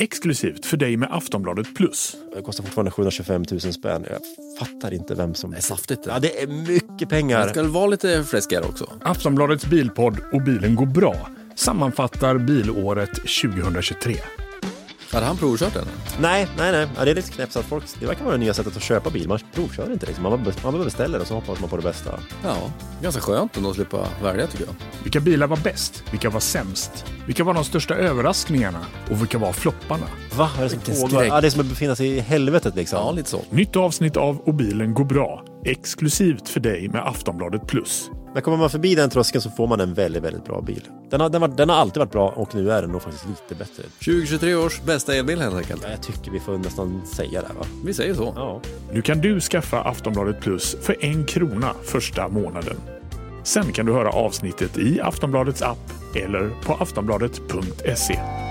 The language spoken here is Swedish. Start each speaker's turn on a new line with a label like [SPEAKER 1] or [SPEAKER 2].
[SPEAKER 1] Exklusivt för dig med Aftonbladet Plus.
[SPEAKER 2] Det kostar fortfarande 725 000 spänn. Jag fattar inte vem som...
[SPEAKER 3] Det är saftigt det.
[SPEAKER 2] Ja, det är mycket
[SPEAKER 3] Man
[SPEAKER 2] pengar.
[SPEAKER 3] ska väl vara lite fläskigare också.
[SPEAKER 1] Aftonbladets bilpodd och bilen går bra sammanfattar bilåret 2023.
[SPEAKER 3] Hade han provkört den?
[SPEAKER 2] Nej, nej, nej. Ja, det är lite knäppt så att folk... Det verkar vara det nya sättet att köpa bil. Man provkör inte liksom. Man bara, man bara beställer och så hoppas man på det bästa.
[SPEAKER 3] Ja, ganska skönt ändå att slippa välja tycker jag.
[SPEAKER 1] Vilka bilar var bäst? Vilka var sämst? Vilka var de största överraskningarna? Och vilka var flopparna?
[SPEAKER 2] Va? Vad är det som
[SPEAKER 3] Vilken
[SPEAKER 2] pågår?
[SPEAKER 3] skräck.
[SPEAKER 2] Ja, det är som att befinna sig i helvetet liksom.
[SPEAKER 3] Ja, lite så.
[SPEAKER 1] Nytt avsnitt av Och bilen går bra. Exklusivt för dig med Aftonbladet Plus.
[SPEAKER 2] Men kommer man förbi den tröskeln så får man en väldigt, väldigt bra bil. Den har, den, var, den har alltid varit bra och nu är den nog faktiskt lite bättre.
[SPEAKER 3] 2023 års bästa elbil helt enkelt.
[SPEAKER 2] Ja, jag tycker vi får nästan säga det här, va?
[SPEAKER 3] Vi säger så.
[SPEAKER 2] Ja.
[SPEAKER 1] Nu kan du skaffa Aftonbladet Plus för en krona första månaden. Sen kan du höra avsnittet i Aftonbladets app eller på aftonbladet.se.